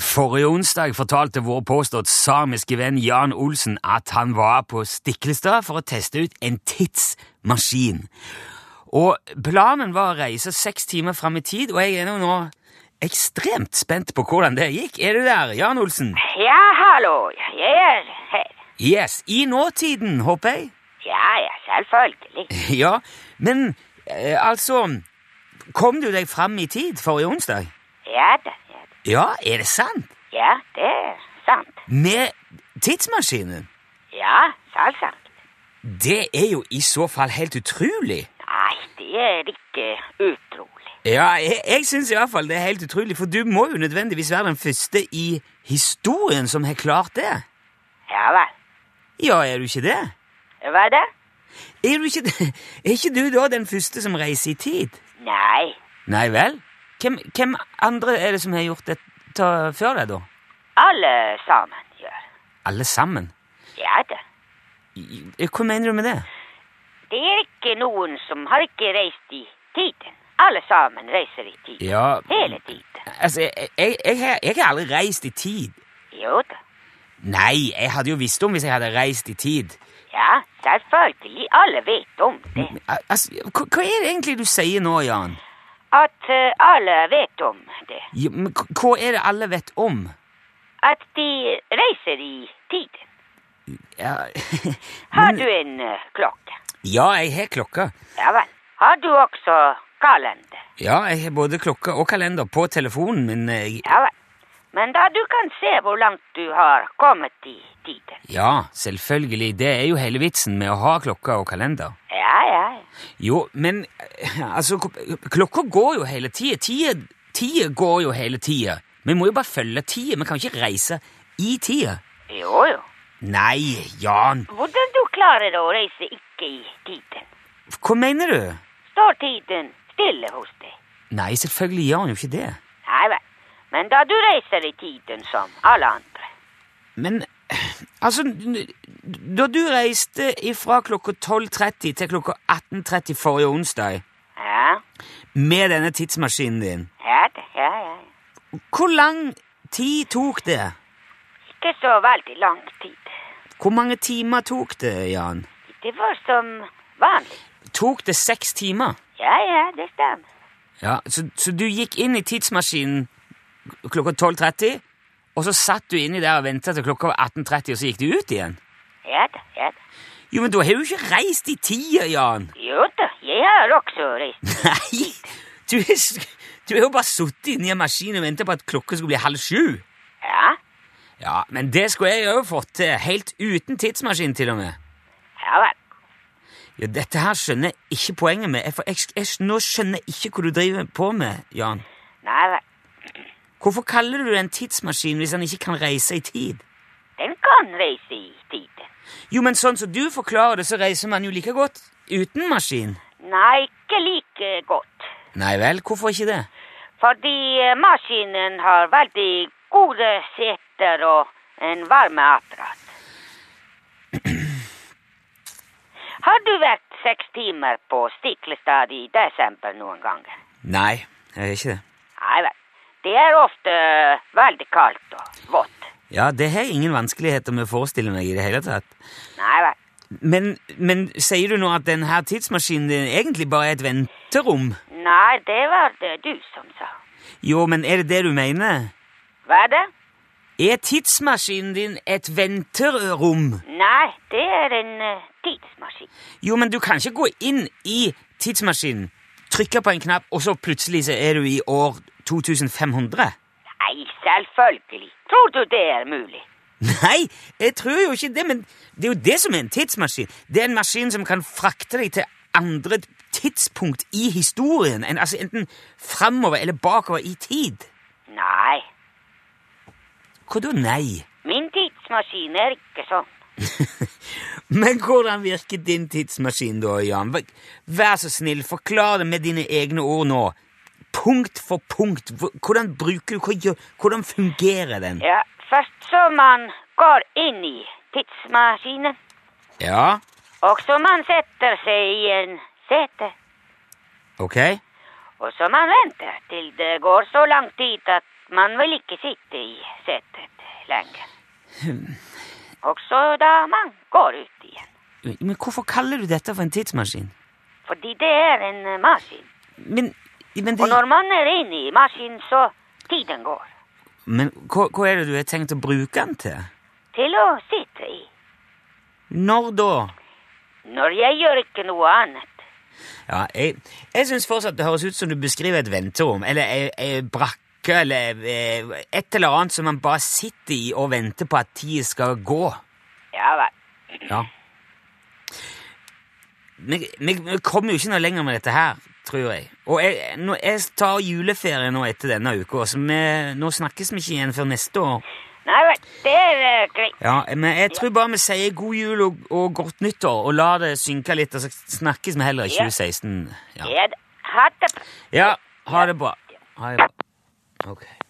Forrige onsdag fortalte vår påstått samiske venn Jan Olsen at han var på Stiklestad for å teste ut en tidsmaskin. Og planen var å reise seks timer fram i tid, og jeg er nå nå ekstremt spent på hvordan det gikk. Er du der, Jan Olsen? Ja, hallo. Jeg er her. Yes, i nåtiden, håper jeg. Ja, ja, selvfølgelig. Ja, men eh, altså Kom du deg fram i tid forrige onsdag? Ja da, ja, da. Ja, er det sant? ja det er sant. Med tidsmaskinen? Ja, selvsagt. Det er jo i så fall helt utrolig. Nei, det er ikke utrolig. Ja, jeg, jeg syns iallfall det er helt utrolig, for du må jo nødvendigvis være den første i historien som har klart det. Ja vel. Ja, er du ikke det? Hva da? Er, du ikke, det? er ikke du da den første som reiser i tid? Nei, Nei vel? Hvem, hvem andre er det som har gjort det ta, før deg, da? alle sammen gjør. Alle sammen? Ja da. I- i- Hva mener du med det? Det er ikke noen som har ikke reist i tiden. Alle sammen reiser i tiden. Ja, Hele tiden. altså, jeg, jeg, jeg, har- jeg har aldri reist i tid. Jo da. Nei, jeg hadde jo visst om hvis jeg hadde reist i tid. Ja, selvfølgelig. Alle vet om det. Men, al- Altså, hva, hva er det egentlig du sier nå, Jan? At eh, alle vet om det. Ja, men hva- hva er det alle vet om? At de reiser i tiden. Ja, Har men, du en eh, klokke? ja jeg har klokka. Ja vel. Har du også kalender? Ja, jeg har både klokka og kalender på telefonen min. eh, Jeg, Ja vel. Men da du kan se hvor langt du har kommet i tiden. ja, selvfølgelig. Det er jo hele vitsen med å ha klokka og kalender. Ja, ja, ja. Jo, men eh, altså, k- klokka går jo hele tida. Tida tida går jo hele tida. Vi må jo bare følge tida. Vi kan jo ikke reise i tida. Jo, jo. Nei, Jan. Hvordan du klarer å reise ikke i tiden? Hva mener du? Står tiden stille hos deg? Nei, selvfølgelig gjør han jo ikke det. Nei vel. Men da du reiser i tiden som alle andre. Men altså n- Da du reiste ifra klokka 12.30 til klokka 18.30 forrige onsdag Ja, med denne tidsmaskinen din, ja, det- ja, ja. ja. hvor lang tid tok det? Ikke så veldig lang tid. Hvor mange timer tok det, Jan? Det var som vanlig. Tok det seks timer? Ja, ja, det stemmer. Ja, Så, så du gikk inn i tidsmaskinen klokka 12.30, og så satt du inni der og venta til klokka var 18.30, og så gikk du ut igjen? Ja da, ja da. Jo, men da har du ikke reist i tida, Jan! Jo da, jeg har også reist. Nei! Du er, s- du er jo bare sittet inni en maskin og venta på at klokka skulle bli halv sju. Ja, Ja, men det skulle jeg jo fått til, helt uten tidsmaskin til og med. ja vel. Ja, Dette her skjønner jeg ikke poenget med. Jeg, for jeg, jeg, nå skjønner jeg ikke hva du driver på med, Jan. Nei vel. Hvorfor kaller du det en tidsmaskin hvis han ikke kan reise i tid? Den kan reise i tiden. Jo, men sånn som du forklarer det, så reiser man jo like godt uten maskin. Nei, ikke like godt. Nei vel, hvorfor ikke det? Fordi eh, maskinen har veldig gode seter og en varmeapparat. Har du vært seks timer på Stiklestad i desember noen ganger? Nei, jeg er ikke det. Nei vel. Det er ofte eh, veldig kaldt og vått. Ja, det har jeg ingen vanskeligheter med å forestille meg i det hele tatt. Nei vel. Men, men sier du nå at denne tidsmaskinen din egentlig bare er et venterom? Nei, det var det du som sa. Jo, men er det det du mener? Hva er det? Er tidsmaskinen din et venterom? Nei, det er en eh, tidsmaskin. Jo, men du kan ikke gå inn i tidsmaskinen, trykke på en knapp, og så plutselig så er du i år 2500. Nei, selvfølgelig. Tror du det er mulig? Nei, jeg tror jo ikke det, men det er jo det som er en tidsmaskin. Det er en maskin som kan frakte deg til andre tidspunkt i historien, enn- altså enten framover eller bakover i tid. Nei, Hva da nei? min tidsmaskin er ikke sånn. Men hvordan virker din tidsmaskin da, Jan? Vær- Vær så snill, forklar det med dine egne ord nå. Punkt for punkt. Hvor- Hvordan bruker du, hva gjør, hvordan fungerer den? Ja, først så man går inn i tidsmaskinen, Ja, og så man setter seg i en sete, ok. og så man venter til det går så lang tid at måtte man vel ikke sitte i setet lenger. Også da man går ut igjen. Men hvorfor kaller du dette for en tidsmaskin? Fordi det er en eh, maskin. Men, men, Og det, når man er inne i maskinen, så tiden går. men hva, hva er det du har tenkt å bruke den til? Til å sitte i. Når da? Når jeg gjør ikke noe annet. Ja, jeg, jeg syns fortsatt det høres ut som du beskriver et venterom, eller ei, ei brakke, eller eh, et eller annet som man bare sitter i og venter på at tida skal gå. Ja vel. Ja. Vi, vi, vi kommer jo ikke noe lenger med dette her, tror jeg. Og jeg, nå, jeg tar juleferie nå etter denne uka, så vi, nå snakkes vi ikke igjen før neste år. Nei vel, det er eh, greit. Ja, men jeg tror bare vi sier god jul og, og godt nyttår, og lar det synke litt, og så snakkes vi heller i Ja. 2016. Ja. Ja da. Ha det bra. Ja, ha det bra. Ha det bra. Ok.